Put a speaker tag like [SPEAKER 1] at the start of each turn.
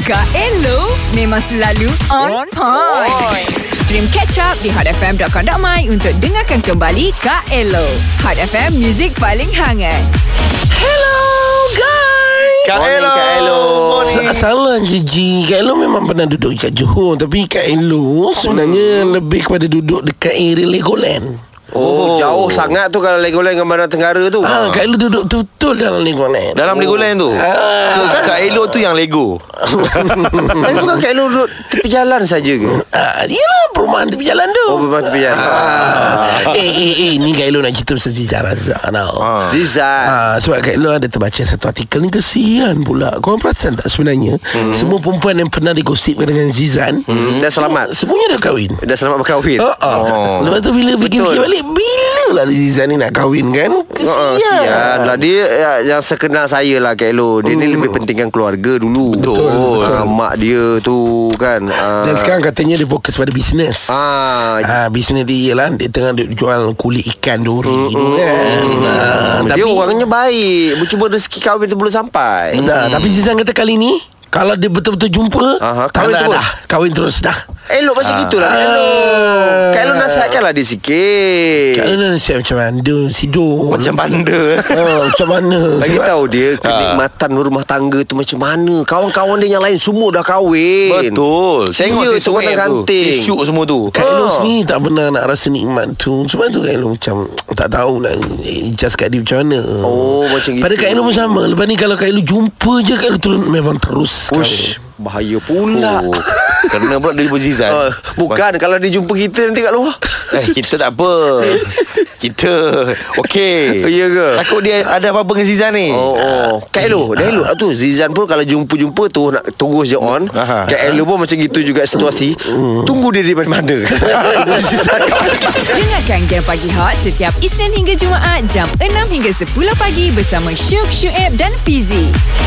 [SPEAKER 1] Kak Elo memang selalu on point. Stream catch up di hotfm.com.my untuk dengarkan kembali Kak Elo. Hot FM, music paling hangat. Hello guys!
[SPEAKER 2] Kak
[SPEAKER 3] Morning,
[SPEAKER 2] Elo.
[SPEAKER 3] Kak Elo.
[SPEAKER 2] Morning.
[SPEAKER 4] Sa- Salah Gigi Kak Elo memang pernah duduk dekat Johor Tapi Kak Elo Sebenarnya Lebih kepada duduk Dekat area Legoland
[SPEAKER 3] Oh, jauh sangat tu kalau Legoland dengan Bandar Tenggara tu. Oh.
[SPEAKER 4] Ah, Kak Elo duduk betul dalam Legoland Ah.
[SPEAKER 2] Dalam Legoland tu
[SPEAKER 3] Ah.
[SPEAKER 2] Ke Kak Elo tu yang Lego
[SPEAKER 3] Tapi bukan Kak Elo duduk tepi jalan saja ke?
[SPEAKER 4] ah, Yelah perumahan tepi jalan tu
[SPEAKER 3] Oh, memang tepi jalan.
[SPEAKER 4] ah. Eh eh eh Ni Kak Elo nak cerita Pasal Ziza Razak tau ah.
[SPEAKER 3] Zizat.
[SPEAKER 4] Ah, sebab Kak Elo ada terbaca satu artikel ni Kesian pula Korang perasan tak sebenarnya hmm. Semua perempuan yang pernah digosipkan dengan Zizan hmm.
[SPEAKER 3] Dah selamat.
[SPEAKER 4] Semuanya dah kahwin
[SPEAKER 3] Dah selamat berkahwin.
[SPEAKER 4] Uh, uh.
[SPEAKER 2] Oh.
[SPEAKER 4] Oh. Lepas tu bila fikir-fikir
[SPEAKER 3] Ah, Betul.
[SPEAKER 4] balik Bila lah Liza ni nak kahwin kan
[SPEAKER 3] Oh,
[SPEAKER 4] Kesian
[SPEAKER 3] sian lah Dia ya, yang sekenal saya lah Kak Elo Dia ni lebih pentingkan keluarga dulu
[SPEAKER 2] Betul.
[SPEAKER 3] Ah, Mak dia tu kan ah.
[SPEAKER 4] Dan sekarang katanya dia fokus pada bisnes ah.
[SPEAKER 3] ah,
[SPEAKER 4] bisnes dia ialah Dia tengah duk jual kulit ikan duri tu kan ah,
[SPEAKER 3] Dia orangnya baik Bercuba rezeki kahwin tu belum sampai
[SPEAKER 2] Hmm.
[SPEAKER 4] nah, Tapi Zizan kata kali ni Kalau dia betul-betul jumpa
[SPEAKER 3] Aha,
[SPEAKER 4] tak
[SPEAKER 3] kahwin
[SPEAKER 4] nak
[SPEAKER 3] terus.
[SPEAKER 4] Dah, kahwin terus dah
[SPEAKER 3] Elok macam
[SPEAKER 2] Ah.
[SPEAKER 3] gitulah Kak Elo Kak Elo nasihatkanlah dia sikit
[SPEAKER 2] Kan
[SPEAKER 4] Kalau nak nasihat macam mana Sidor
[SPEAKER 2] Macam bandar
[SPEAKER 4] Ah, Macam mana
[SPEAKER 3] Bagi
[SPEAKER 4] Sebab-
[SPEAKER 3] tahu
[SPEAKER 2] Ah.
[SPEAKER 3] dia kenikmatan rumah tangga tu macam mana. Kawan-kawan dia yang lain semua dah kahwin.
[SPEAKER 2] Betul
[SPEAKER 3] Tengok dia tu
[SPEAKER 2] app
[SPEAKER 3] kan kanting.
[SPEAKER 2] Isu lah. semua tu
[SPEAKER 4] Kak
[SPEAKER 3] Oh.
[SPEAKER 4] Elo sendiri tak pernah nak rasa nikmat tu Sebab tu Kak Elo macam Tak tahu nak Adjust kat dia macam mana
[SPEAKER 3] Oh, macam
[SPEAKER 4] Pada
[SPEAKER 3] gitu.
[SPEAKER 4] Kak Elo pun sama Lepas ni kalau Kak Elo jumpa je Kak Elo turun Memang terus
[SPEAKER 3] Ush, bahaya pula.
[SPEAKER 2] Oh, Kerana pula dia berzizan
[SPEAKER 3] Oh. Bukan kalau dia jumpa kita nanti kat luar.
[SPEAKER 2] Eh, kita tak apa Kita Okey
[SPEAKER 3] Ya ke?
[SPEAKER 2] Takut dia ada apa-apa dengan Zizan ni
[SPEAKER 3] Oh, oh. Kak Elo, dah Elo. Ah, tu Zizan pun kalau jumpa-jumpa tu nak terus je on.
[SPEAKER 2] Aha. Hmm.
[SPEAKER 3] Kak Elo pun macam gitu juga situasi. Tunggu dia di mana-mana. Zizan
[SPEAKER 1] Dengarkan Game Pagi Hot setiap Isnin hingga Jumaat jam 6 hingga 10 pagi bersama Syuk, Syuib dan Fizi.